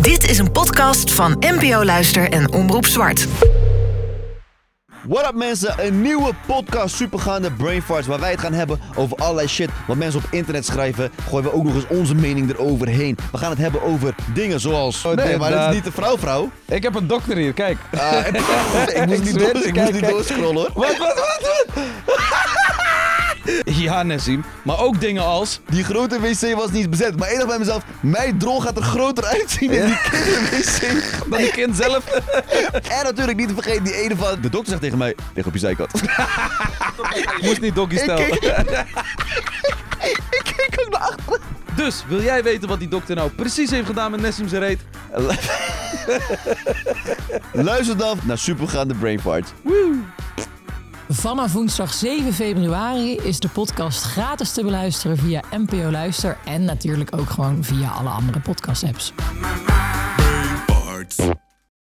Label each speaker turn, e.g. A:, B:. A: Dit is een podcast van NPO Luister en Omroep Zwart.
B: What up mensen, een nieuwe podcast supergaande Brainfarts waar wij het gaan hebben over allerlei shit wat mensen op internet schrijven. Gooien we ook nog eens onze mening eroverheen. We gaan het hebben over dingen zoals...
C: Oh,
B: nee, maar dat
C: inderdaad.
B: is niet de vrouw vrouw.
C: Ik heb een dokter hier, kijk.
B: Ah, ik moest
C: Ik
B: niet,
C: zweer
B: door,
C: het,
B: ik
C: kijk,
B: moest niet
C: kijk.
B: doorscrollen hoor.
C: Wat, wat, wat, wat? Ja, Nassim. Maar ook dingen als...
B: Die grote wc was niet bezet. Maar ik dacht bij mezelf, mijn drol gaat er groter uitzien dan die kinderwc.
C: Dat een kind zelf...
B: En natuurlijk niet te vergeten die ene van... De dokter zegt tegen mij, lig op je zijkant.
C: Moest niet doggy
B: Ik
C: stijl.
B: keek- ik keek ook naar achteren.
C: Dus, wil jij weten wat die dokter nou precies heeft gedaan met Nassim zijn reet?
B: Luister dan naar supergaande Brainfarts.
D: Vanaf woensdag 7 februari is de podcast gratis te beluisteren via NPO Luister en natuurlijk ook gewoon via alle andere podcast-apps.
E: my, my,